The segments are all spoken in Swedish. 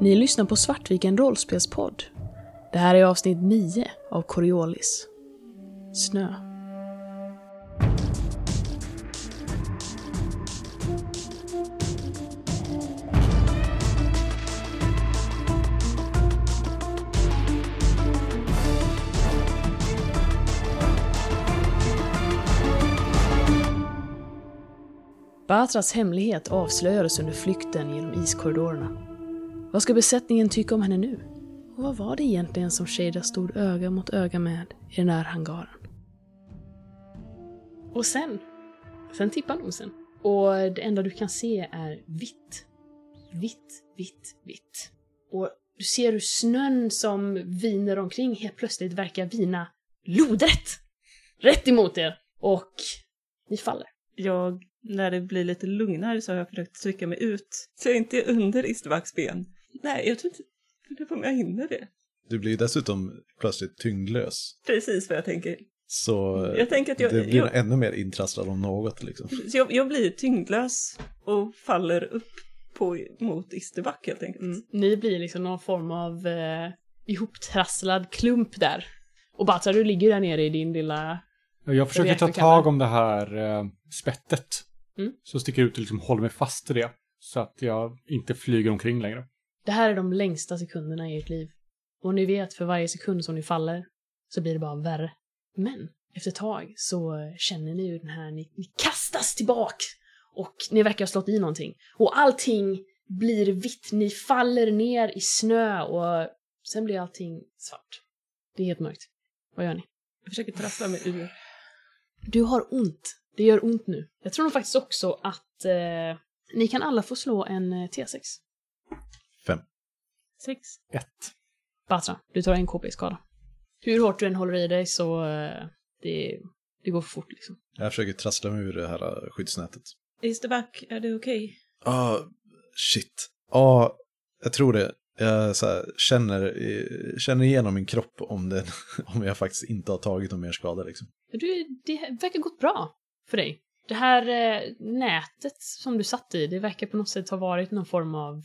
Ni lyssnar på Svartviken rollspelspodd. Det här är avsnitt 9 av Coriolis. Snö. Batras hemlighet avslöjades under flykten genom iskorridorerna. Vad ska besättningen tycka om henne nu? Och vad var det egentligen som Shada stod öga mot öga med i den här hangaren? Och sen, sen tippar nosen. Och det enda du kan se är vitt. Vitt, vitt, vitt. Och du ser hur snön som viner omkring helt plötsligt verkar vina lodrätt! Rätt emot er! Och ni faller. Jag, när det blir lite lugnare så har jag försökt trycka mig ut så jag inte är under Istvaks ben. Nej, jag tror inte jag vet inte om jag hinner det. Du blir ju dessutom plötsligt tyngdlös. Precis vad jag tänker. Så eh, Jag tänker att jag- det blir jag- ännu mer intrasslad om något liksom. Så jag, jag blir tyngdlös och faller upp på, mot Isterback helt enkelt. Ni blir liksom någon form av eh, ihoptrasslad klump där. Och Batra, du ligger där nere i din lilla... Jag försöker ta Reaktorkammaren. tag om det här eh, spettet. Mm. Så sticker jag ut och liksom håller mig fast i det. Så att jag inte flyger omkring längre. Det här är de längsta sekunderna i ert liv. Och ni vet, för varje sekund som ni faller så blir det bara värre. Men efter ett tag så eh, känner ni ju den här, ni, ni kastas tillbaka! Och ni verkar ha slått i någonting. Och allting blir vitt, ni faller ner i snö och sen blir allting svart. Det är helt mörkt. Vad gör ni? Jag försöker trassla mig ur. Du har ont. Det gör ont nu. Jag tror nog faktiskt också att eh, ni kan alla få slå en eh, T6. Fem. Sex. Ett. Batra, du tar en KP i skada. Hur hårt du än håller i dig så eh, det, det går för fort liksom. Jag försöker trassla mig ur det här eh, skyddsnätet. Isterback, är det okej? Ah, shit. Ja, ah, jag tror det. Jag så här, känner, eh, känner igenom min kropp om, den, om jag faktiskt inte har tagit någon mer skada liksom. Du, det verkar gått bra för dig. Det här eh, nätet som du satt i, det verkar på något sätt ha varit någon form av...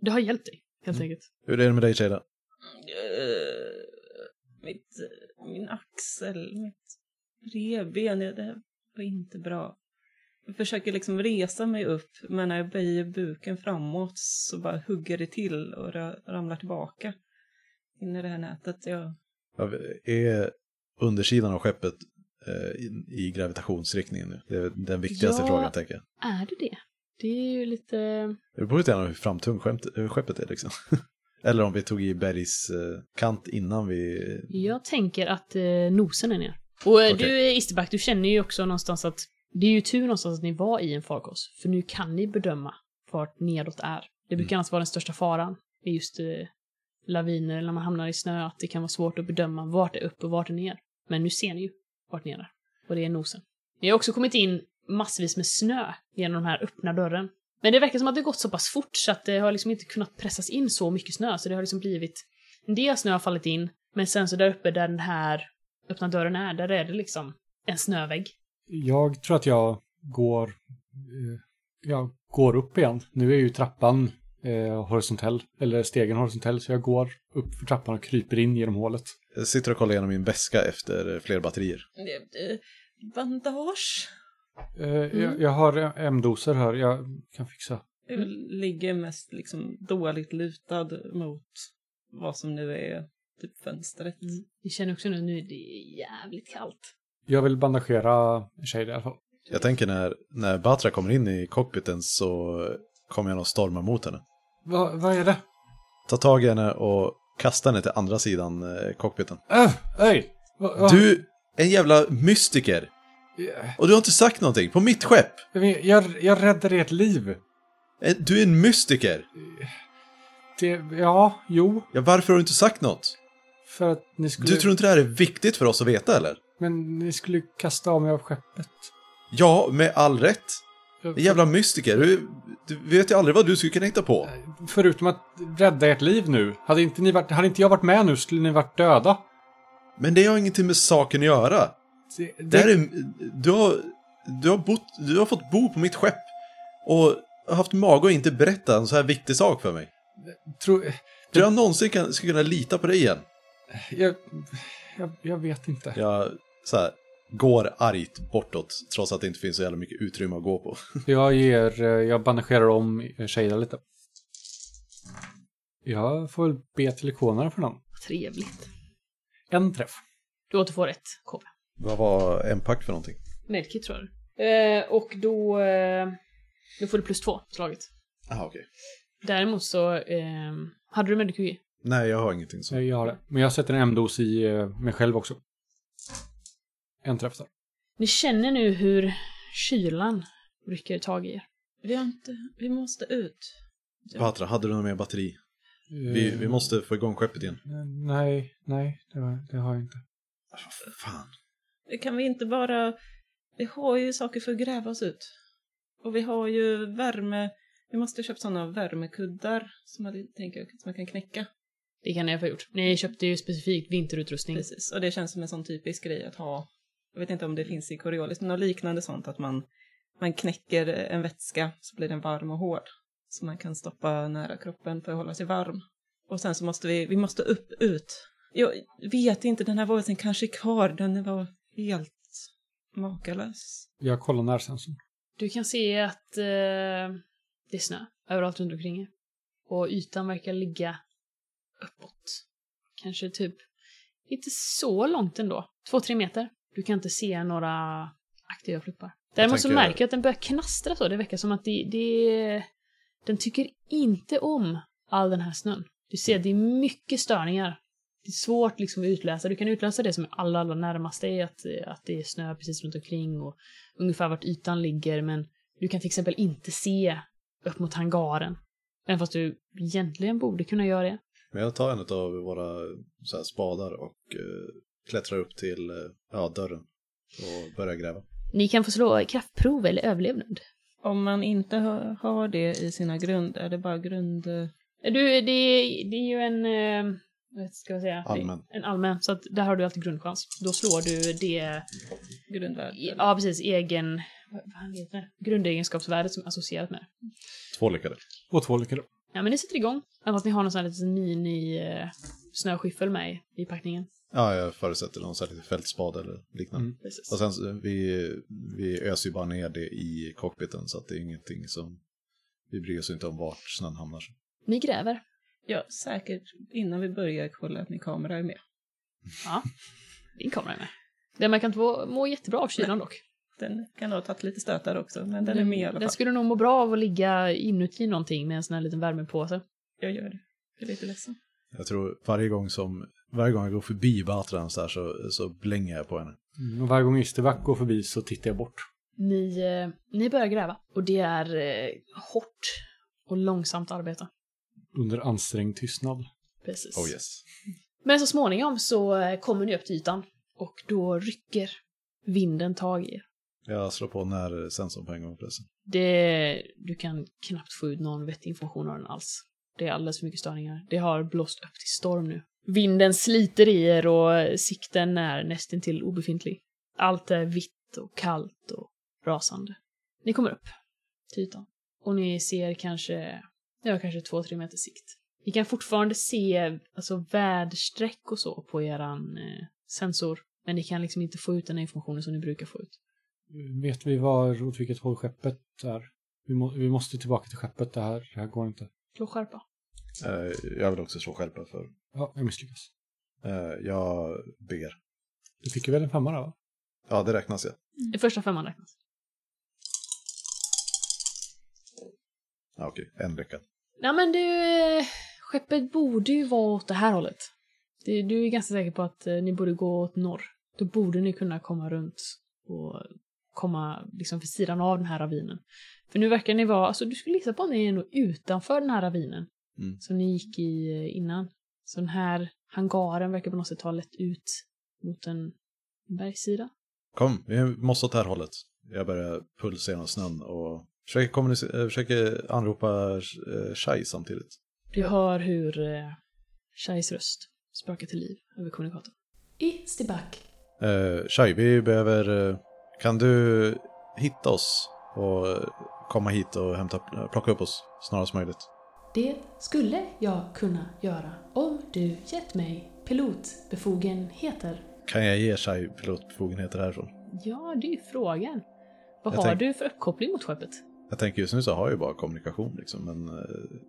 Det har hjälpt dig, helt enkelt. Hur är det med dig Shada? Eh, mitt, min axel, mitt revben, ja, det här var inte bra. Jag försöker liksom resa mig upp, men när jag böjer buken framåt så bara hugger det till och ra- ramlar tillbaka in i det här nätet. Jag, Ja, Är undersidan av skeppet eh, i, i gravitationsriktningen nu? Det är den viktigaste Ja. frågan tänker jag. Är det det? Det är ju lite... Det beror lite grann på hur framtung skämt- eh, skeppet är liksom. Eller om vi tog i bergs eh, kant innan vi... Jag tänker att eh, nosen är ner. Och eh, Okej. du, eh, Isterback, du känner ju också någonstans att det är ju tur någonstans att ni var i en farkost, för nu kan ni bedöma vart nedåt är. Det brukar annars vara den största faran, det är just eh, laviner eller när man hamnar i snö, att det kan vara svårt att bedöma vart det är upp och vart det är ner. Men nu ser ni ju vart ner är, och det är nosen. Ni har också kommit in massvis med snö genom den här öppna dörren. Men det verkar som att det gått så pass fort så att det har liksom inte kunnat pressas in så mycket snö, så det har liksom blivit en del snö har fallit in, men sen så där uppe där den här öppna dörren är, där är det liksom en snövägg. Jag tror att jag går... Eh, jag går upp igen. Nu är ju trappan eh, horisontell. Eller stegen horisontell. Så jag går upp för trappan och kryper in genom hålet. Jag sitter och kollar igenom min väska efter eh, fler batterier. eh, bandage? Eh, jag, jag har M-doser här. Jag kan fixa. Jag ligger mest liksom dåligt lutad mot vad som nu är typ fönstret. Ni känner också nu, nu är det jävligt kallt. Jag vill bandagera tjejer i alla fall. Jag tänker när, när Batra kommer in i cockpiten så kommer jag nog storma mot henne. Va, vad är det? Ta tag i henne och kasta henne till andra sidan eh, cockpiten. Öh! Öj! Va, va? Du, en jävla mystiker! Eh, Och du har inte sagt någonting på mitt skepp! Jag, vet- jag, jag räddade ert liv. Eh, Du är en mystiker! Det, ja, jo. Ja, varför har du inte sagt något? För att ni skulle... Du tror inte det här är viktigt för oss att veta eller? Men ni skulle kasta av mig av skeppet. Ja, med all rätt. Jag- En jävla mystiker, du, du vet ju aldrig vad du skulle kunna hitta på. Förutom att rädda ert liv nu. Hade inte, ni varit, hade inte jag varit med nu skulle ni varit döda. Men det har ingenting med saken att göra. Det, det, Det här är, du, har, du, har bott, du har fått bo på mitt skepp och har haft mage att inte berätta en så här viktig sak för mig. Tror, Tror jag någonsin kan, ska kunna lita på dig igen? jag, jag, jag vet inte. Jag så här, går argt bortåt, trots att det inte finns så jävla mycket utrymme att gå på. Jag ger, eh, jag bandagerar om Shada lite. Jag får väl be till ikonerna för någon. Trevligt. En träff. Du återfår ett KP. Vad var en pack för någonting? Medkit tror jag. Eh, och då... Eh, då får du plus två slaget. Jaha, Ah, okej. Däremot så... Eh, hade du Medkit? Nej, jag har ingenting Jag så. gör det. Men jag sätter en M-dos i eh, mig själv också. En träff där. Ni känner nu hur kylan rycker tag i er. Vi har inte... Vi måste ut. Patra, hade du något mer batteri? Vi, Eh, vi måste få igång skeppet igen. Nej, nej, det har, det har jag inte. Fan. Kan vi inte bara... Vi har ju saker för att gräva oss ut. Och vi har ju värme... Vi måste köpa sådana värmekuddar som man, tänker, jag, som man kan knäcka. Det kan ni ha gjort. Ni köpte ju specifikt vinterutrustning. Precis. Och det känns som en sån typisk grej att ha. Jag vet inte om det finns i koreolis, men något liknande sånt att man, man knäcker en vätska så blir den varm och hård. Så man kan stoppa nära kroppen för att hålla sig varm. Och sen så måste vi, vi måste upp, ut. Jag vet inte, den här varelsen kanske är kvar, den var helt makalös. Jag kollar närsensorn. Du kan se att eh, det är snö överallt runt omkring er. Och ytan verkar ligga uppåt. Kanske typ inte så långt ändå. Två, tre meter. Du kan inte se några aktiva pluppar. Däremot så tänker- märker jag att den börjar knastra så. Det verkar som att det, det... Den tycker inte om all den här snön. Du ser, det är mycket störningar. Det är svårt liksom att utläsa. Du kan utläsa det som är allra, allra närmaste är att, att det är snö precis runt omkring och ungefär vart ytan ligger, men du kan till exempel inte se upp mot hangaren. Även fast du egentligen borde kunna göra det. Men jag tar en av våra så här, spadar och eh, klättrar upp till eh, ja, dörren och börjar gräva. Ni kan få slå kraftprov eller överlevnad. Om man inte ha- har det i sina grund, är det bara grund... eh, Du, det, är- det är ju en... eh, Vad ska jag säga? Allmän. En allmän, så att där har du alltid grundchans. Då slår du det... Grundvärde? Ja, precis. Egen... Vad vad heter det? Grundegenskapsvärdet som är associerat med det. Två lyckade. Och två lyckade. Ja, men det sätter igång. Även fast ni har någon sån här liten mini-snöskyffel med i- i packningen. Ja, jag förutsätter någon särskild fältspad eller liknande. Mm. Precis. Och sen så- vi, vi öser ju bara ner det i cockpiten så att det är ingenting som... Vi bryr oss inte om vart snön hamnar. Ni gräver. Ja, säkert innan vi börjar kolla att min kamera är med. Din kamera är med. Den verkar inte må, må jättebra av kylan dock. Den kan ha tagit lite stötar också, men den är med i alla fall. Den skulle nog må bra av att ligga inuti någonting med en sån här liten värmepåse. Jag gör det. Jag är lite ledsen. Jag tror varje gång som... Varje gång jag går förbi Batran så här så, så blänger jag på henne. Mm, och varje gång Istervack går förbi så tittar jag bort. Ni, eh, ni börjar gräva och det är eh, hårt och långsamt arbete. Under ansträngd tystnad. Precis. Oh yes. Men så småningom så eh, kommer ni upp till ytan och då rycker vinden tag i er. Jag slår på när sensorn på en gång förresten. Det, du kan knappt få ut någon vettig information av den alls. Det är alldeles för mycket störningar. Det har blåst upp till storm nu. Vinden sliter i er och sikten är nästintill obefintlig. Allt är vitt och kallt och rasande. Ni kommer upp till ytan. Och ni ser kanske, ja, kanske två, tre meters sikt. Ni kan fortfarande se alltså, väderstreck och så på eran eh, sensor. Men ni kan liksom inte få ut den här informationen som ni brukar få ut. Eh, Vet vi var, åt vilket håll skeppet är? Vi, må, vi måste tillbaka till skeppet, det här, det här går inte. Slå skärpa. Eh, Jag vill också slå skärpa för... Ja, jag misslyckas. eh, Jag ber. Du fick ju väl en femma där va? Ja, det räknas ja. Den första femman räknas. ja okej, en lyckad. Nej men du, eh, skeppet borde ju vara åt det här hållet. Du, du är ganska säker på att eh, ni borde gå åt norr. Då borde ni kunna komma runt och komma liksom vid sidan av den här ravinen. För nu verkar ni vara, alltså du skulle gissa på att ni är nog utanför den här ravinen Mm. som ni gick i eh, innan. Så den här hangaren verkar på något sätt ha lett ut mot en bergssida. Kom, vi måste åt det här hållet. Jag börjar pulsa genom snön och försöker, kommunice- eh, försöker anropa eh, Shai samtidigt. Du hör hur eh, Shais röst spökar till liv över kommunikatorn. I Stibak. Eh, Shai, vi behöver... eh, Kan du hitta oss och eh, komma hit och hämta, plocka upp oss snarast möjligt? Det skulle jag kunna göra om du gett mig pilotbefogenheter. Kan jag ge Shai pilotbefogenheter härifrån? Ja, det är ju frågan. Vad Jag har tänk- du för uppkoppling mot skeppet? Jag tänker just nu så har jag ju bara kommunikation liksom, men eh,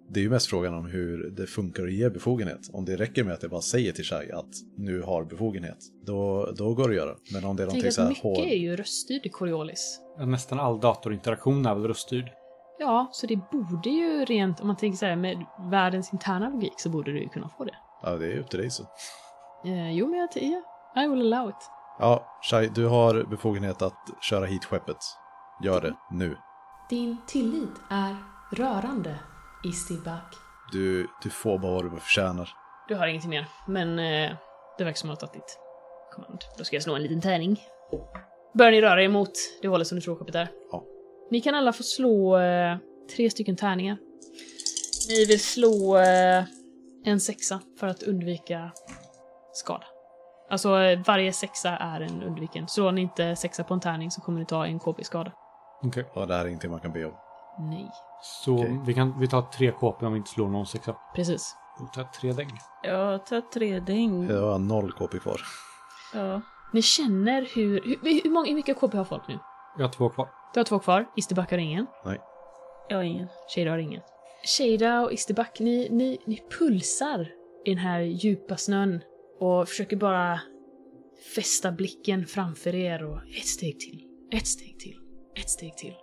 det är ju mest frågan om hur det funkar att ge befogenhet. Om det räcker med att jag bara säger till Shai att nu har befogenhet, då, då går det att göra. Men om det är Tänk någonting så att här mycket hår... är ju röststyrd i Coriolis. Ja, Nästan all datorinteraktion är väl röststyrd. Ja, så det borde ju rent, om man tänker så här med världens interna logik så borde du ju kunna få det. Ja, det är upp till dig så. Eh, jo, men jag, ja, I will allow it. Ja, Shai, du har befogenhet att köra hit skeppet. Gör det, nu. Din tillit är rörande, Istibak. Du, du får bara vad du förtjänar. Du har ingenting mer, men eh, det verkar som att jag har tagit ditt kommand. Då ska jag slå en liten tärning. Bör ni röra er mot det hållet som ni tror skeppet är? Ja. Ni kan alla få slå eh, tre stycken tärningar. Ni vill slå eh, en sexa för att undvika skada. Alltså eh, varje sexa är en undviken. Slår ni inte sexa på en tärning så kommer ni ta en KP-skada. Okej. Och det här är ingenting man kan be om. Nej. Så Okej. vi, kan, vi tar tre KP om vi inte slår någon sexa. Precis. Och tar tre däng. Jag tar tre däng. Jag har noll KP kvar. Ja. Ni känner hur... Hur, hur, många, hur mycket KP har folk nu? Jag har två kvar. Du har två kvar. Isterback har ingen. Jag har ingen. Shada har ingen. Shada och Isterback, ni, ni, ni pulsar i den här djupa snön och försöker bara fästa blicken framför er och ett steg till, ett steg till, ett steg till.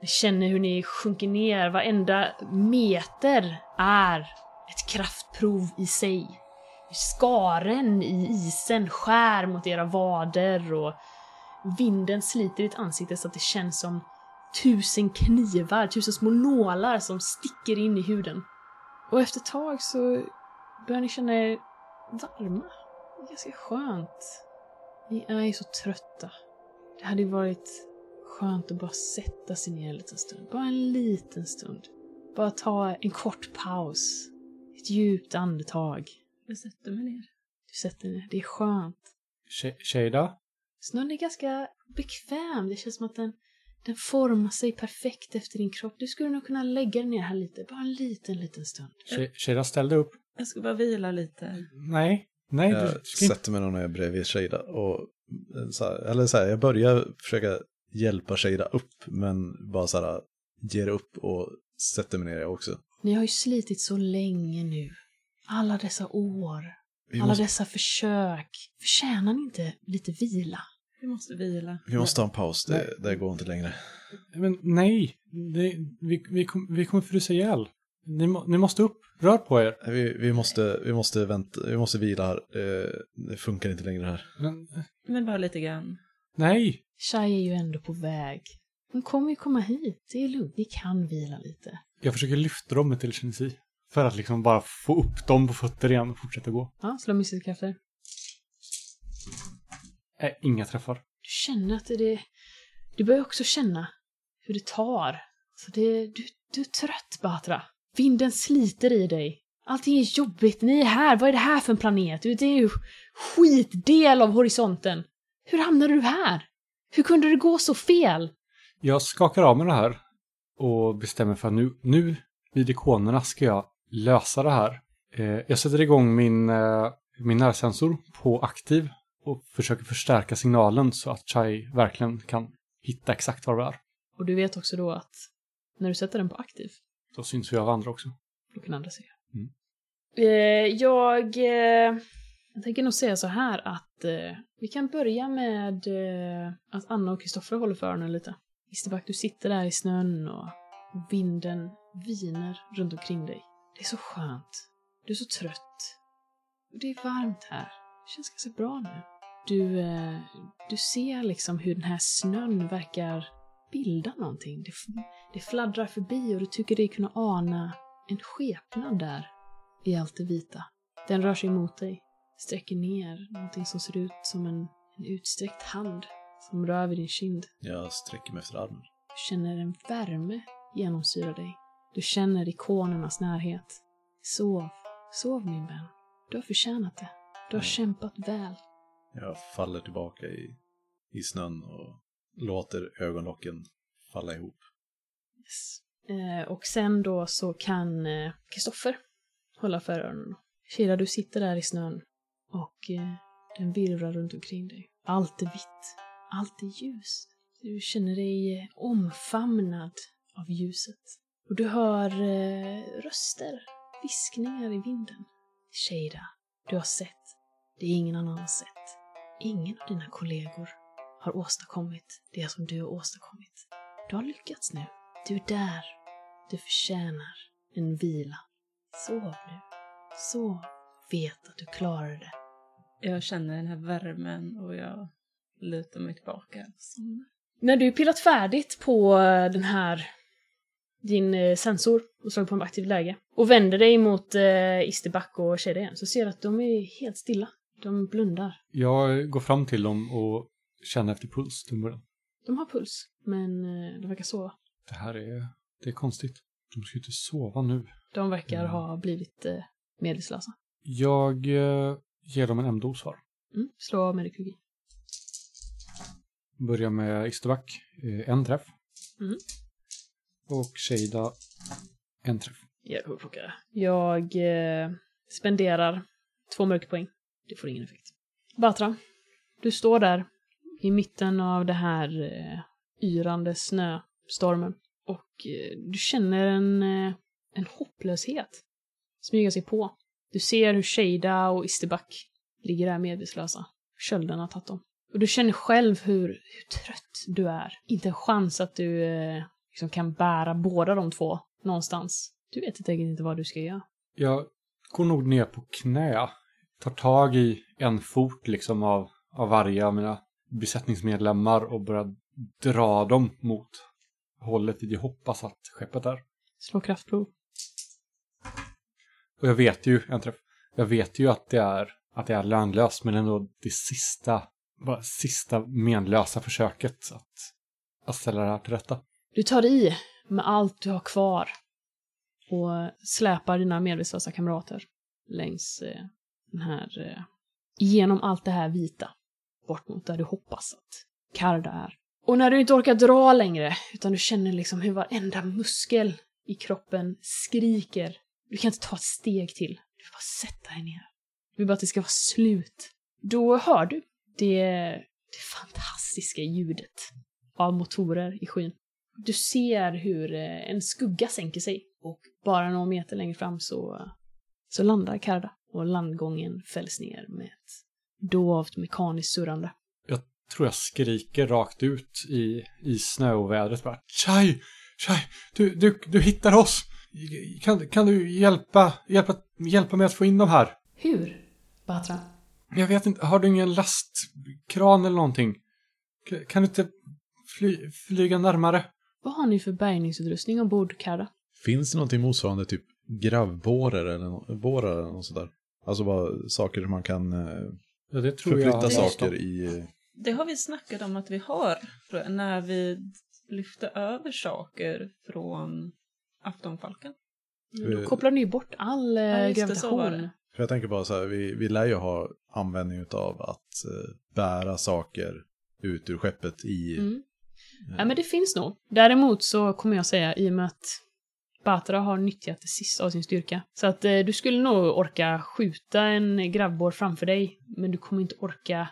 Ni känner hur ni sjunker ner, varenda meter är ett kraftprov i sig. Skaren i isen skär mot era vader och vinden sliter ditt ansikte så att det känns som tusen knivar, tusen små nålar som sticker in i huden. Och efter ett tag så börjar ni känna er varma. Det är ganska skönt. Ni är ju så trötta. Det hade ju varit skönt att bara sätta sig ner en liten stund. Bara en liten stund. Bara ta en kort paus. Ett djupt andetag. Jag sätter mig ner. Du sätter ner. Det är skönt. Sh- Shada? Snön är ganska bekväm. Det känns som att den, den formar sig perfekt efter din kropp. Du skulle nog kunna lägga dig ner här lite, bara en liten, liten stund. Sh- Shada ställ dig upp. Jag ska bara vila lite. Nej. Nej, du Jag ska inte. sätter mig nog ner bredvid Shada och eh, så här, eller så här, jag börjar försöka hjälpa Shada upp men bara så här ger upp och sätter mig ner jag också. Ni har ju slitit så länge nu. Alla dessa år, Vi alla måste, dessa försök. Förtjänar ni inte lite vila? Vi måste vila. vi måste ta en paus, det, Nej. det går inte längre. Men nej. Det, vi, vi, kom, vi kommer frysa ihjäl. Ni, må- ni måste upp. Rör på er. Vi, vi, måste, vi måste vänta, vi måste vila här. Det, det funkar inte längre här. Men, Men bara lite grann. nej. Shai är ju ändå på väg. Hon kommer ju komma hit, det är lugnt. Ni kan vila lite. Jag försöker lyfta dem med till Shinzi. För att liksom bara få upp dem på fötter igen och fortsätta gå. Ja, slå muskelkrafter. Äh, inga träffar. Du känner att det- det... Du börjar också känna hur det tar. Så det, du, du är trött, Batra. Vinden sliter i dig. Allting är jobbigt. Ni är här. Vad är det här för en planet? Du, Det är ju skitdel av horisonten. Hur hamnade du här? Hur kunde det gå så fel? Jag skakar av mig det här och bestämmer för att nu, nu vid ikonerna ska jag lösa det här. Eh, jag sätter igång min, eh, min närsensor på aktiv och försöker förstärka signalen så att Chai verkligen kan hitta exakt var vi är. Och du vet också då att när du sätter den på aktiv, Då syns vi av andra också. då kan andra se. Mm. Eh, jag, eh, jag tänker nog säga så här att eh, vi kan börja med eh, att Anna och Kristoffer håller för öronen lite. Isterback, du sitter där i snön och vinden viner runt omkring dig. Det är så skönt. Du är så trött. Och Det är varmt här. Det känns ganska bra nu. Du, eh, du ser liksom hur den här snön verkar bilda någonting. Det, f- det fladdrar förbi och du tycker dig kunna ana en skepnad där i allt det vita. Den rör sig mot dig, sträcker ner någonting som ser ut som en, en utsträckt hand som rör vid din kind. Jag sträcker mig efter armen. Du känner en värme genomsyra dig. Du känner ikonernas närhet. Sov, sov min vän. Du har förtjänat det. Du har Mm. kämpat väl. Jag faller tillbaka i, i snön och låter ögonlocken falla ihop. Yes. Eh, och sen då så kan eh, Kristoffer hålla för öronen. Kira, du sitter där i snön och eh, den virvlar runt omkring dig. Allt är vitt. Allt är ljus. Du känner dig eh, omfamnad av ljuset. Och du hör eh, röster, viskningar i vinden. Shada, du har sett det ingen annan har sett. Ingen av dina kollegor har åstadkommit det som du har åstadkommit. Du har lyckats nu. Du är där. Du förtjänar en vila. Sov nu. Sov. Vet att du klarar det. Jag känner den här värmen och jag lutar mig tillbaka. Så- När du pillat färdigt på eh, den här, din eh, sensor och slagit på en aktiv läge och vänder dig mot eh, Isterback och Shada igen så ser du att de är helt stilla. De blundar. Jag går fram till dem och känner efter puls till en början. De har puls, men eh, de verkar sova. Det här är, det är konstigt. De ska ju inte sova nu. De verkar ha blivit eh, medvetslösa. Jag eh, ger dem en M-dos var. Mm. Slå medikologi. Börjar med Isterback, eh, en träff. Mm. Och Shada, en träff. Jag kommer plocka det. Jag eh, spenderar två mörkerpoäng. Det får ingen effekt. Batra, du står där i mitten av det här eh, yrande snöstormen och eh, du känner en, eh, en hopplöshet smyga sig på. Du ser hur Shada och Isterback ligger där medvetslösa. Kölden har tagit dem. Och du känner själv hur, hur trött du är. Inte en chans att du eh, liksom kan bära båda de två någonstans. Du vet helt enkelt inte vad du ska göra. Jag går nog ner på knä. Tar tag i en fot liksom av, av varje av mina besättningsmedlemmar och börjar dra dem mot hållet dit jag hoppas att skeppet är. Slå kraftprov. Och jag vet ju, en träff, jag vet ju att det är, att det är lönlöst men ändå det sista, bara sista menlösa försöket att, att ställa det här till rätta. Du tar i med allt du har kvar och släpar dina medvetslösa kamrater längs eh, den här... Eh, genom allt det här vita. Bort mot där du hoppas att Karda är. Och när du inte orkar dra längre, utan du känner liksom hur varenda muskel i kroppen skriker. Du kan inte ta ett steg till. Du vill bara sätta dig ner. Du vill bara att det ska vara slut. Då hör du det, det fantastiska ljudet av motorer i skyn. Du ser hur eh, en skugga sänker sig och bara några meter längre fram så, så landar Karda och landgången fälls ner med ett dovt mekaniskt surrande. Jag tror jag skriker rakt ut i, i snöovädret bara Chai! Chai! Du, du, du hittar oss! Kan, kan du hjälpa, hjälpa, hjälpa mig att få in dem här? Hur? Batra. Jag vet inte, har du ingen lastkran eller någonting? K- Kan du inte fly, flyga närmare? Vad har ni för bärgningsutrustning ombord, Karda? Finns det någonting motsvarande typ gravbårar eller, nå- bårar eller något sådär? Alltså bara saker som man kan eh, Ja, det tror förflytta jag. saker i. eh, Det har vi snackat om att vi har, tror jag, när vi lyfte över saker från aftonfalken. Då Eh, kopplar ni ju bort all eh, Ja, just det, så var gravitation. det. För jag tänker bara så här, vi, vi lär ju ha användning av att eh, bära saker ut ur skeppet i... Mm. Ja, men det finns nog. Däremot så kommer jag säga, i och med att Batra har nyttjat det sista av sin styrka, så att eh, du skulle nog orka skjuta en grabbår framför dig, men du kommer inte orka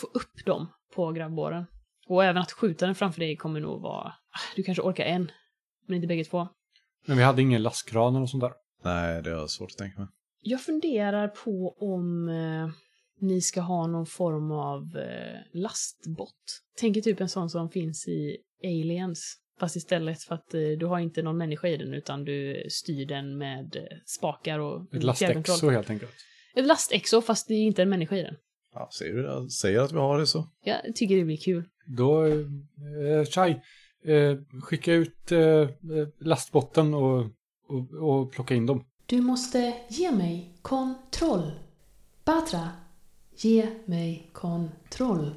få upp dem på grabbåren. Och även att skjuta den framför dig kommer nog vara... ah, Du kanske orkar en, men inte bägge två. Men vi hade ingen lastkran eller något sånt där. Nej, det har jag svårt att tänka mig. Jag funderar på om eh, ni ska ha någon form av eh, lastbott. Tänker typ en sån som finns i Aliens. Fast istället för att eh, du har inte någon människa i den utan du styr den med eh, spakar och Ett lastexo helt enkelt. Ett lastexo fast det är inte en människa i den. Ja, ser du det? Säger att vi har det så. Jag tycker det blir kul. Då, eh, Chai, eh, skicka ut eh, eh, lastbotten och, och, och plocka in dem. Du måste ge mig kontroll. Batra. Ge mig kontroll.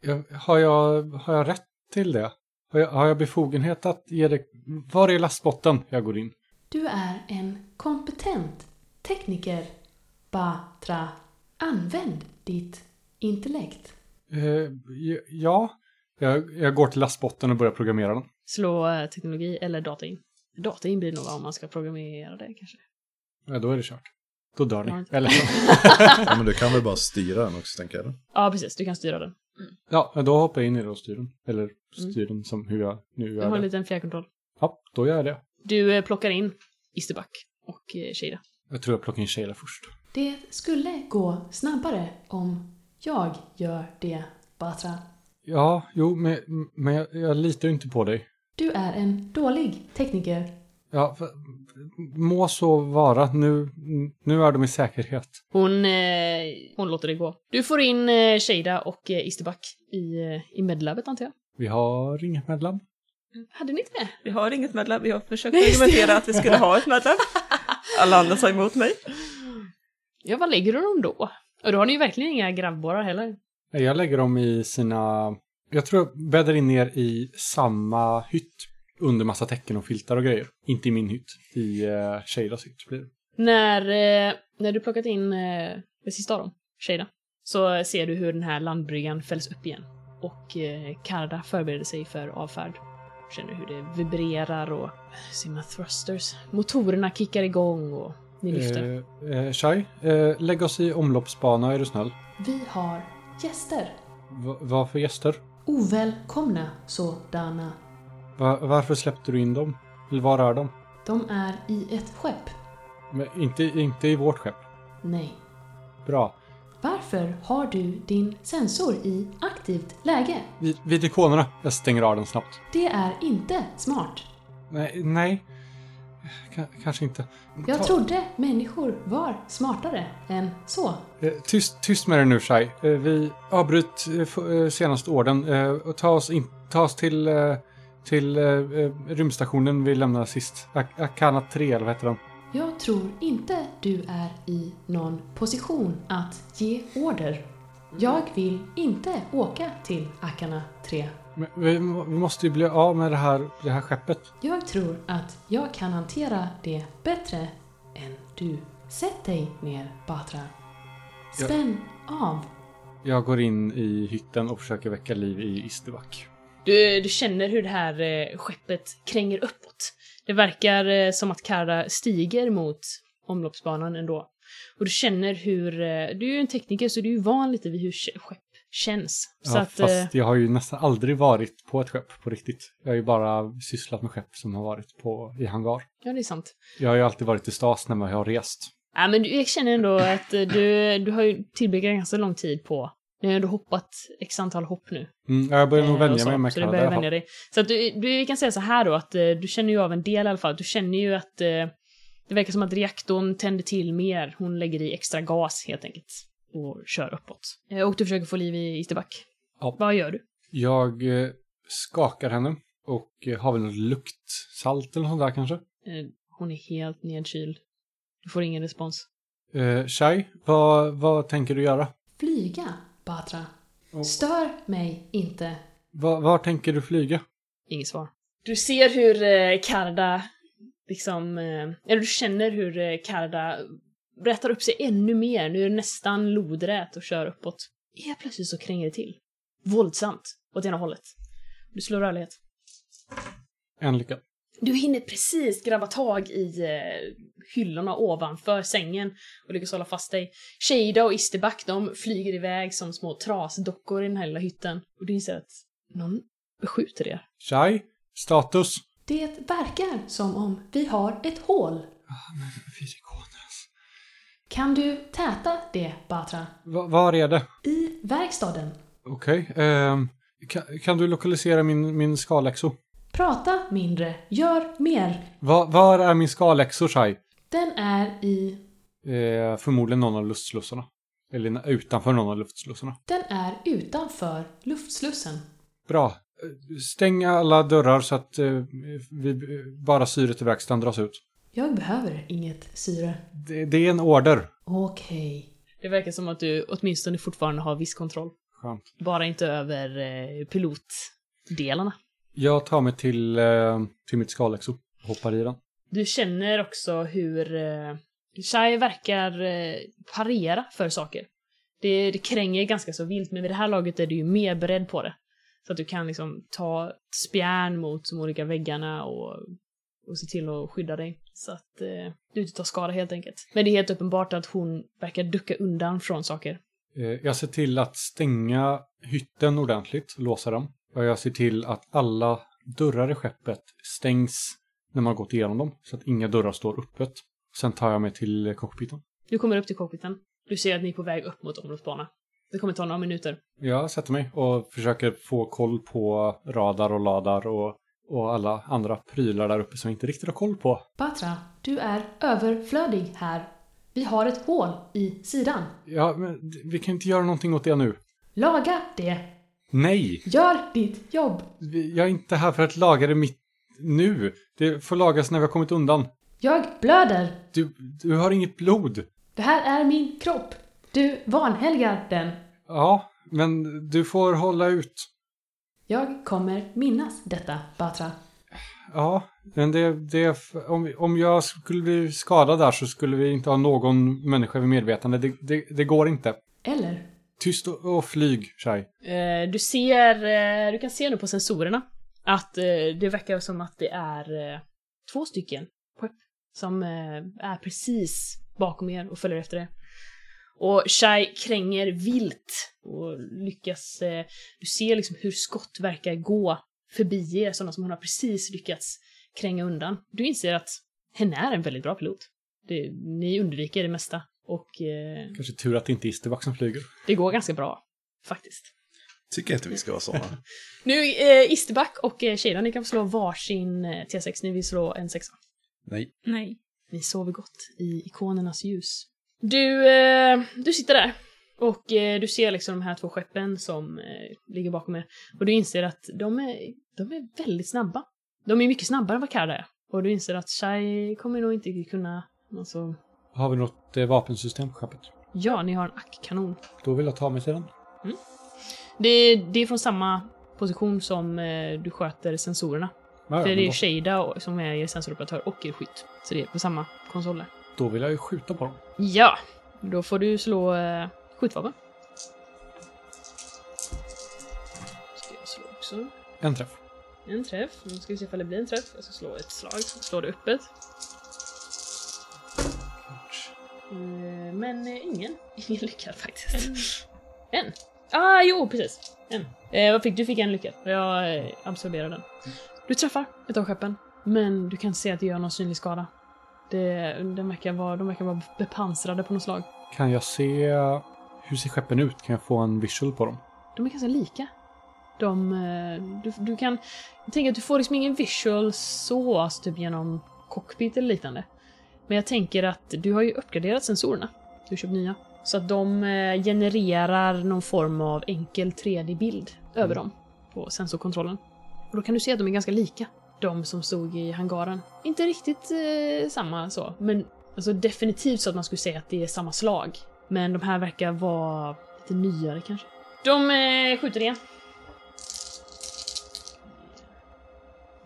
Jag, har, jag, har jag rätt till det? Har jag, har jag befogenhet att ge dig... Var är lastbotten? Jag går in. Du är en kompetent tekniker. Batra. Använd ditt intellekt. Eh, j- ja, jag, jag går till lastbotten och börjar programmera den. Slå eh, teknologi eller data in. data inblir nog om man ska programmera det kanske. Ja, då är det kört. Då dör Ja. ni. Eller, Ja, men du kan väl bara styra den också, tänker jag. Ja, precis. Du kan styra den. ja, då hoppar jag in i då styren. Eller styren som hur jag nu Du gör Mm. har en det. liten fjärrkontroll. Ja, då gör jag det. Du eh, plockar in Isterback och eh, Shada. Jag tror jag plockar in Sheila först. Det skulle gå snabbare om jag gör det, Batra. Ja, jo, men, men jag, jag litar ju inte på dig. Du är en dålig tekniker. Ja, för- må så vara. Nu, nu är de i säkerhet. Hon, eh, hon låter det gå. Du får in eh, Shada och eh, Isterback i, eh, i medlabbet antar jag. Vi har inget medlem. Hade ni inte det? Vi har inget medlem, vi har försökt Just det. argumentera att vi skulle ha ett medlem. Alla andra sa emot mig. Ja, vad lägger du dem då? Och då har ni ju verkligen inga grabbborrar heller. Nej, Jag lägger dem i sina... Jag tror jag bäddar in er i samma hytt. Under massa täcken och filtar och grejer. Inte i min hytt. I eh, Sheilas hytt blir det. När, eh, när du plockat in eh, det sista av dem, Shada, så eh, ser du hur den här landbryggan fälls upp igen. Och eh, Karda förbereder sig för avfärd. Känner hur det vibrerar och sina thrusters. Motorerna kickar igång och ni lyfter. Eh, eh, Shai, eh, lägg oss i omloppsbana är du snäll. Vi har gäster. Va- vad för gäster? Ovälkomna sådana. Va- varför släppte du in dem? Eller var är de? De är i ett skepp. Men inte, inte i vårt skepp. Nej. Bra. Varför har du din sensor i aktivt läge? Vid, vid ikonerna. Jag stänger av den snabbt. Det är inte smart. Nej, nej. K- kanske inte. Ta- Jag trodde människor var smartare än så. Eh, Tyst, tyst med dig nu Shai. Eh, Vi avbryt eh, f- eh, senaste orden eh, och ta oss, in, ta oss till, eh, till eh, eh, rymdstationen vi lämnade sist. Ak- Akana 3 eller vad heter den? Jag tror inte du är i någon position att ge order. Jag vill inte åka till Akana 3. Men Vi, må- vi måste ju bli av med det här, det här skeppet. Jag tror att jag kan hantera det bättre än du. Sätt dig ner, Batra. Ja. Spänn av. Jag går in i hytten och försöker väcka liv i Isterback. Du, du känner hur det här eh, skeppet kränger uppåt. Det verkar eh, som att Kara stiger mot omloppsbanan ändå. Och du känner hur... eh, Du är ju en tekniker så du är ju van lite vid hur ske- skepp känns. Så ja, att, eh, fast jag har ju nästan aldrig varit på ett skepp på riktigt. Jag har ju bara sysslat med skepp som har varit på, i hangar. ja, det är sant. Jag har ju alltid varit i stas när man har rest. Ja, men du, jag känner ändå att eh, du, du har ju tillbringat ganska lång tid på... Ni har ändå hoppat x antal hopp nu. Mm, jag börjar nog Eh, och vänja så. mig med Så du Kanada i börjar alla fall. vänja dig. Så att du, du vi kan säga så här då, att eh, du känner ju av en del i alla fall. Du känner ju att eh, det verkar som att reaktorn tänder till mer. Hon lägger i extra gas helt enkelt och kör uppåt. Eh, och du försöker få liv i Isterback. Ja. Vad gör du? Jag eh, skakar henne och eh, har väl något luktsalt eller sånt där kanske. Eh, hon är helt nedkyld. Du får ingen respons. Eh, Shai, vad, vad tänker du göra? Flyga, Batra. Och- Stör mig inte. Va, var tänker du flyga? Inget svar. Du ser hur eh, Karda liksom, eh, eller du känner hur eh, Karda rätar upp sig ännu mer. Nu är det nästan lodrät och kör uppåt. Helt plötsligt så kränger det till. Våldsamt. Åt ena hållet. Du slår rörlighet. En lycka. Du hinner precis grabba tag i eh, hyllorna ovanför sängen och lyckas hålla fast dig. Shada och Isterback de flyger iväg som små trasdockor i den här lilla hytten. Och du inser att någon skjuter er. Shai, status. Det verkar som om vi har ett hål. Fysikonas. Kan du täta det, Batra? Va, var är det? I verkstaden. Okej. ehm, kan, kan du lokalisera min, min skalexo? Prata mindre, gör mer. Va, var är min skalexo, Shai? Den är i... Eh, förmodligen någon av luftslussarna. Eller na- utanför någon av luftslussarna. Den är utanför luftslussen. Bra. Eh, Stäng alla dörrar så att eh, vi, eh, bara syret i verkstaden dras ut. Jag behöver inget syre. Det, det är en order. Okej. Det verkar som att du åtminstone fortfarande har viss kontroll. Skönt. Bara inte över eh, pilotdelarna. Jag tar mig till, eh, till mitt skalexo och hoppar i den. Du känner också hur eh, Shai verkar eh, parera för saker. Det, det kränger ganska så vilt, men vid det här laget är du ju mer beredd på det. Så att du kan liksom ta spjärn mot de olika väggarna och och se till att skydda dig så att eh, du inte tar skada helt enkelt. Men det är helt uppenbart att hon verkar ducka undan från saker. Eh, Jag ser till att stänga hytten ordentligt, låsa dem. Och jag ser till att alla dörrar i skeppet stängs när man gått igenom dem, så att inga dörrar står öppet. Sen tar jag mig till eh, cockpiten. Du kommer upp till cockpiten. Du ser att ni är på väg upp mot områdesbana. Det kommer ta några minuter. Jag sätter mig och försöker få koll på radar och ladar och, och alla andra prylar där uppe som jag inte riktigt har koll på. Batra, du är överflödig här. Vi har ett hål i sidan. Ja, men d- vi kan inte göra någonting åt det nu. Laga det! Nej! Gör ditt jobb! Vi- Jag är inte här för att laga det mitt nu. Det får lagas när vi har kommit undan. Jag blöder! Du, du har inget blod. Det här är min kropp. Du vanhelgar den. Ja, men du får hålla ut. Jag kommer minnas detta, Batra. Ja, men det, det, om, om jag skulle bli skadad där så skulle vi inte ha någon människa vid medvetande. Det, det, det går inte. Eller? Tyst och, och flyg, Shai. Eh, du ser, eh, du kan se nu på sensorerna att eh, det verkar som att det är eh, två stycken skepp som eh, är precis bakom er och följer efter er. Och Shai kränger vilt och lyckas, eh, du ser liksom hur skott verkar gå förbi er, sådana som hon har precis lyckats kränga undan. Du inser att henne är en väldigt bra pilot. Det, ni undviker det mesta och eh, Kanske tur att det inte är Isterback som flyger. det går ganska bra, faktiskt. Tycker inte vi ska vara sådana. Nu, eh, Isterback och eh, Shada, ni kan få slå varsin eh, T6. Ni vill slå en sexa. Nej. Nej. Ni sover gott i ikonernas ljus. Du, eh, du sitter där och eh, du ser liksom de här två skeppen som eh, ligger bakom er. Och du inser att de är, de är väldigt snabba. De är mycket snabbare än vad Karda är. Och du inser att Shai kommer nog inte kunna... Alltså, Har vi något eh, vapensystem på skeppet? ja, ni har en ackkanon. Då vill jag ta mig till den. Det, det är från samma position som eh, du sköter sensorerna. Ja, ja, För men det då, är Shada och- som är er sensoroperatör och er skytt. Så det är på samma konsoler. då vill jag ju skjuta på dem. Ja! Då får du slå eh, skjutvapen. Ska jag slå också. En träff. En träff. Nu ska vi se ifall det blir en träff. Jag ska slå ett slag. Slå det öppet. Eh, Men eh, ingen. Ingen lyckad faktiskt. En. Ah, jo precis. En. Eh, vad fick du? fick en lyckad. Jag eh, absorberar den. Du träffar ett av skeppen, men du kan inte se att det gör någon synlig skada. Det, den verkar vara, de verkar vara bepansrade på något slag. Kan jag se... Hur ser skeppen ut? Kan jag få en visual på dem? De är ganska lika. De, eh, du, du kan tänka att du får liksom ingen visual så, alltså typ genom cockpit eller liknande. Men jag tänker att du har ju uppgraderat sensorerna. Du har köpt nya. Så att de eh, genererar någon form av enkel 3D-bild över dem på sensorkontrollen. Och då kan du se att de är ganska lika. De som stod i hangaren. Inte riktigt eh, samma så, men alltså definitivt så att man skulle säga att det är samma slag. Men de här verkar vara lite nyare kanske. De eh, skjuter igen.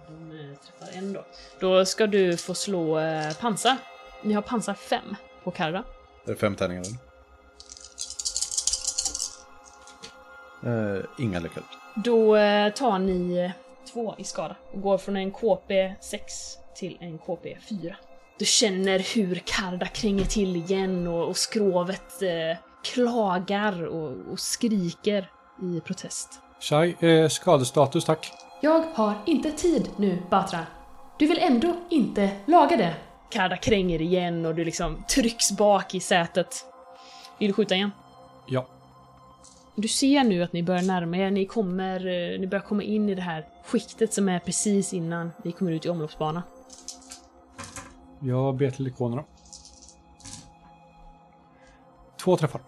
De eh, träffar en då. Då ska du få slå eh, pansar. Ni har pansar 5 på Karra. Det är fem tärningar. eller? Eh, inga lyckade. Då eh, tar ni eh, två i skada och går från en KP 6 till en KP 4. Du känner hur Karda kränger till igen och, och skrovet eh, klagar och, och skriker i protest. Shai, eh, skadestatus tack. Jag har inte tid nu, Batra. Du vill ändå inte laga det. Karda kränger igen och du liksom trycks bak i sätet. Vill du skjuta igen? Ja. Du ser nu att ni börjar närma er, ni, kommer, eh, ni börjar komma in i det här skiktet som är precis innan ni kommer ut i omloppsbana. Jag ber till ikonerna. Två träffar.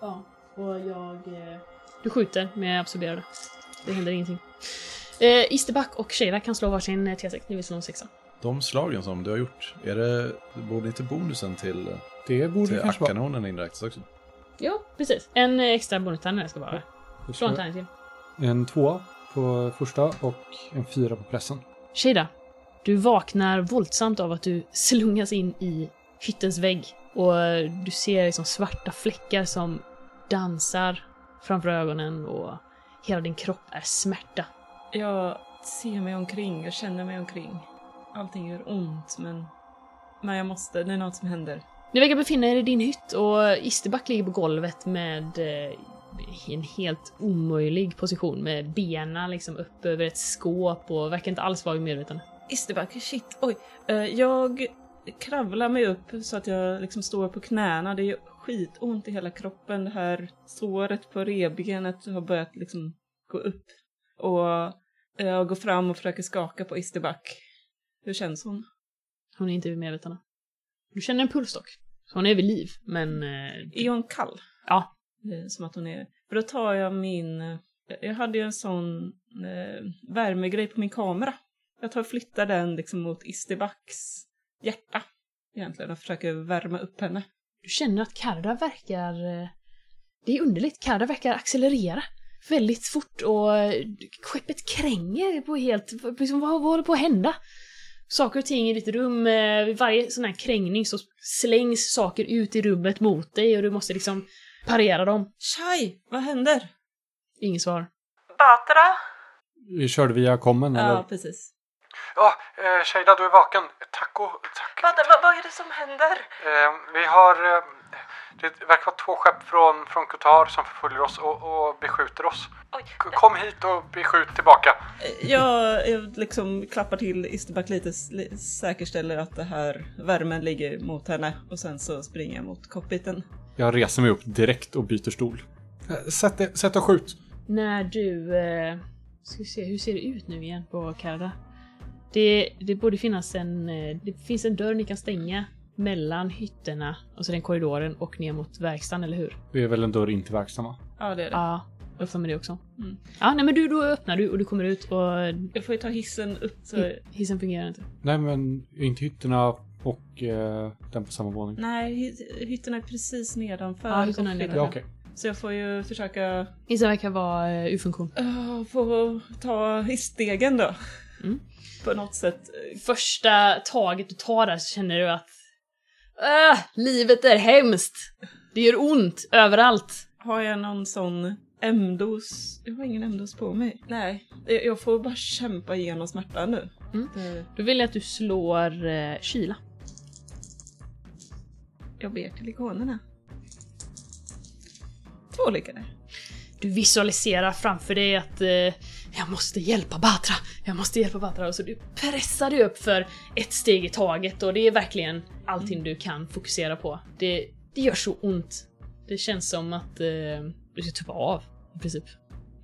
Ja, och jag... eh, Du skjuter, men jag absorberar det. Det händer ingenting. Eh, Isterback och Sheila kan slå varsin eh, T6, ni vill slå en sexa. De slagen som du har gjort, är det, borde inte bonusen till, Det borde till det kanske vara. ackkanonen inräknas också? Ja, precis. En eh, extra bonusterning ska vara. Slå en tärning till. En tvåa på första och en fyra på pressen. Shida, du vaknar våldsamt av att du slungas in i hyttens vägg och eh, du ser liksom svarta fläckar som dansar framför ögonen och hela din kropp är smärta. Jag ser mig omkring och känner mig omkring. Allting gör ont, men... Men jag måste, det är något som händer. Ni verkar befinna er i din hytt och Isterback ligger på golvet med eh, i en helt omöjlig position med benen liksom upp över ett skåp och verkar inte alls vara i medvetande. Isterback, shit, oj. Eh, Jag kravlar mig upp så att jag liksom står på knäna. Det gör skitont i hela kroppen. Det här såret på revbenet har börjat liksom gå upp. Och jag går fram och försöker skaka på Isterback. Hur känns hon? Hon är inte vid medvetande. Du känner en puls dock. Så hon är vid liv, men... eh, Är hon kall? Ja. Eh, Som att hon är... För då tar jag min... eh, Jag hade ju en sån eh, värmegrej på min kamera. Jag tar och flyttar den liksom mot Isterbacks hjärta egentligen och försöker värma upp henne. Du känner att Karda verkar... eh, Det är underligt, Karda verkar accelerera väldigt fort och eh, skeppet kränger på helt... Liksom, vad, vad håller på att hända? Saker och ting i ditt rum, eh, vid varje sån här krängning så slängs saker ut i rummet mot dig och du måste liksom parera dem. Shai, vad händer? Inget svar. Batra? Vi körde via kommen Ja, eller? precis. Ja, eh, Shada du är vaken. Tack och tack. Batra, vad, vad är det som händer? Eh, vi har... Eh, det verkar vara två skepp från, från Qatar som förföljer oss och, och beskjuter oss. Oj. K- Kom hit och beskjut tillbaka. Jag, jag liksom klappar till Isterback lite, s- li- säkerställer att det här värmen ligger mot henne och sen så springer jag mot cockpiten. Jag reser mig upp direkt och byter stol. Eh, Sätt, dig- sätt och skjut. När du... Eh, ska vi se, hur ser det ut nu igen på Karda? Det, det borde finnas en... eh, Det finns en dörr ni kan stänga mellan hytterna, alltså den korridoren, och ner mot verkstaden, eller hur? Det är väl en dörr in till verksamma. Ja, det är det. Ja, jag har för mig det också. Mm. Ja, nej men du, då öppnar du och du kommer ut och eh, Jag får ju ta hissen upp så... hissen fungerar inte. Nej men, inte hytterna och eh, den på samma våning. Nej, hy- hytterna är precis nedanför. Ja, hytterna är nedanför. Mm. Ja okej. Så jag får ju försöka Hissen verkar vara eh, ur funktion. eh, få ta hissstegen då. Mm. På något sätt. eh, Första taget du tar där så känner du att... "Ah, livet är hemskt! Det gör ont överallt! Har jag någon sån M-dos? Jag har ingen M-dos på mig. Nej, jag jag får bara kämpa igenom smärtan nu. Mm. Det- Då vill jag att du slår eh, kyla. Jag ber till ikonerna. Två lyckade. Du visualiserar framför dig att eh, jag måste hjälpa Batra, jag måste hjälpa Batra. Och så du pressar dig upp för ett steg i taget och det är verkligen allting du kan fokusera på. Det, det gör så ont. Det känns som att eh, du ska tuppa av i princip.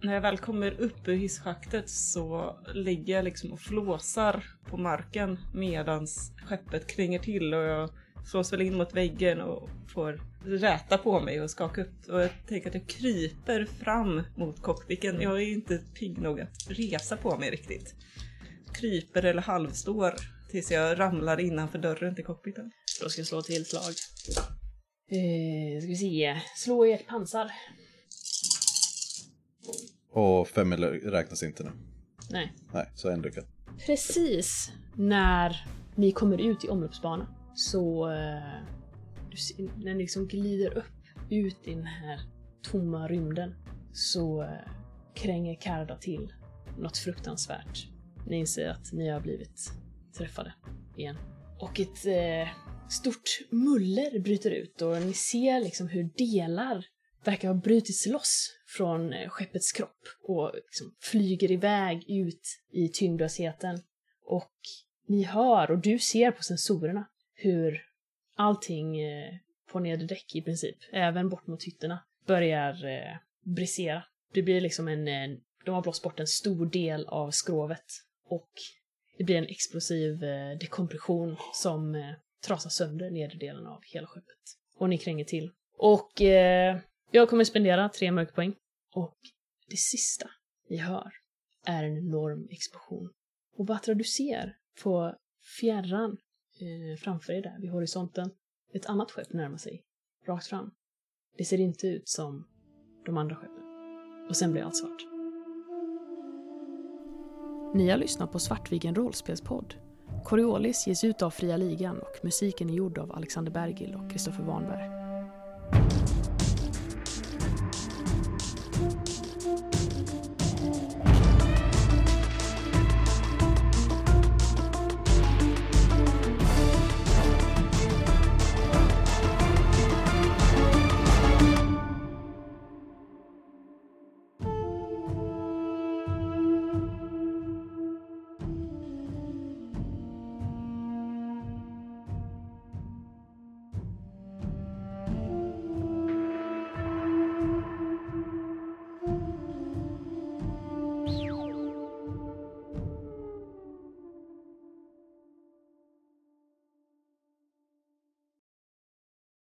När jag väl kommer upp ur hisschaktet så ligger jag liksom och flåsar på marken medans skeppet kränger till och jag slås väl in mot väggen och får räta på mig och skaka upp. Och jag tänker att jag kryper fram mot cockpiten. Jag är inte pigg nog att resa på mig riktigt. Kryper eller halvstår tills jag ramlar innanför dörren till cockpiten. Då ska jag slå till slag. Eh, ska vi se. Slå i ett pansar. Och fem eller- räknas inte nu. Nej. Nej, så en lyckad. Precis när ni kommer ut i omloppsbana så... eh, Du, ser- när ni liksom glider upp ut i den här tomma rymden så eh, kränger Karda till något fruktansvärt. Ni inser att ni har blivit träffade igen. Och ett eh, stort muller bryter ut och ni ser liksom hur delar verkar ha brutits loss från eh, skeppets kropp och liksom flyger iväg ut i tyngdlösheten. Och ni hör och du ser på sensorerna hur allting eh, på nedre däck i princip, även bort mot hytterna, börjar eh, brisera. Det blir liksom en, en... De har blåst bort en stor del av skrovet och det blir en explosiv eh, dekompression som eh, trasar sönder nedre delen av hela skeppet. Och ni kränger till. Och eh, jag kommer spendera tre mörkpoäng. Och det sista ni hör är en enorm explosion. Och Batra, du ser på fjärran eh, framför er där vid horisonten ett annat skepp närma sig, rakt fram. Det ser inte ut som de andra skeppen. Och sen blir allt svart. Ni har lyssnat på Svartviken rollspelspodd. Coriolis ges ut av Fria Ligan och musiken är gjord av Alexander Bergil och Kristoffer Warnberg.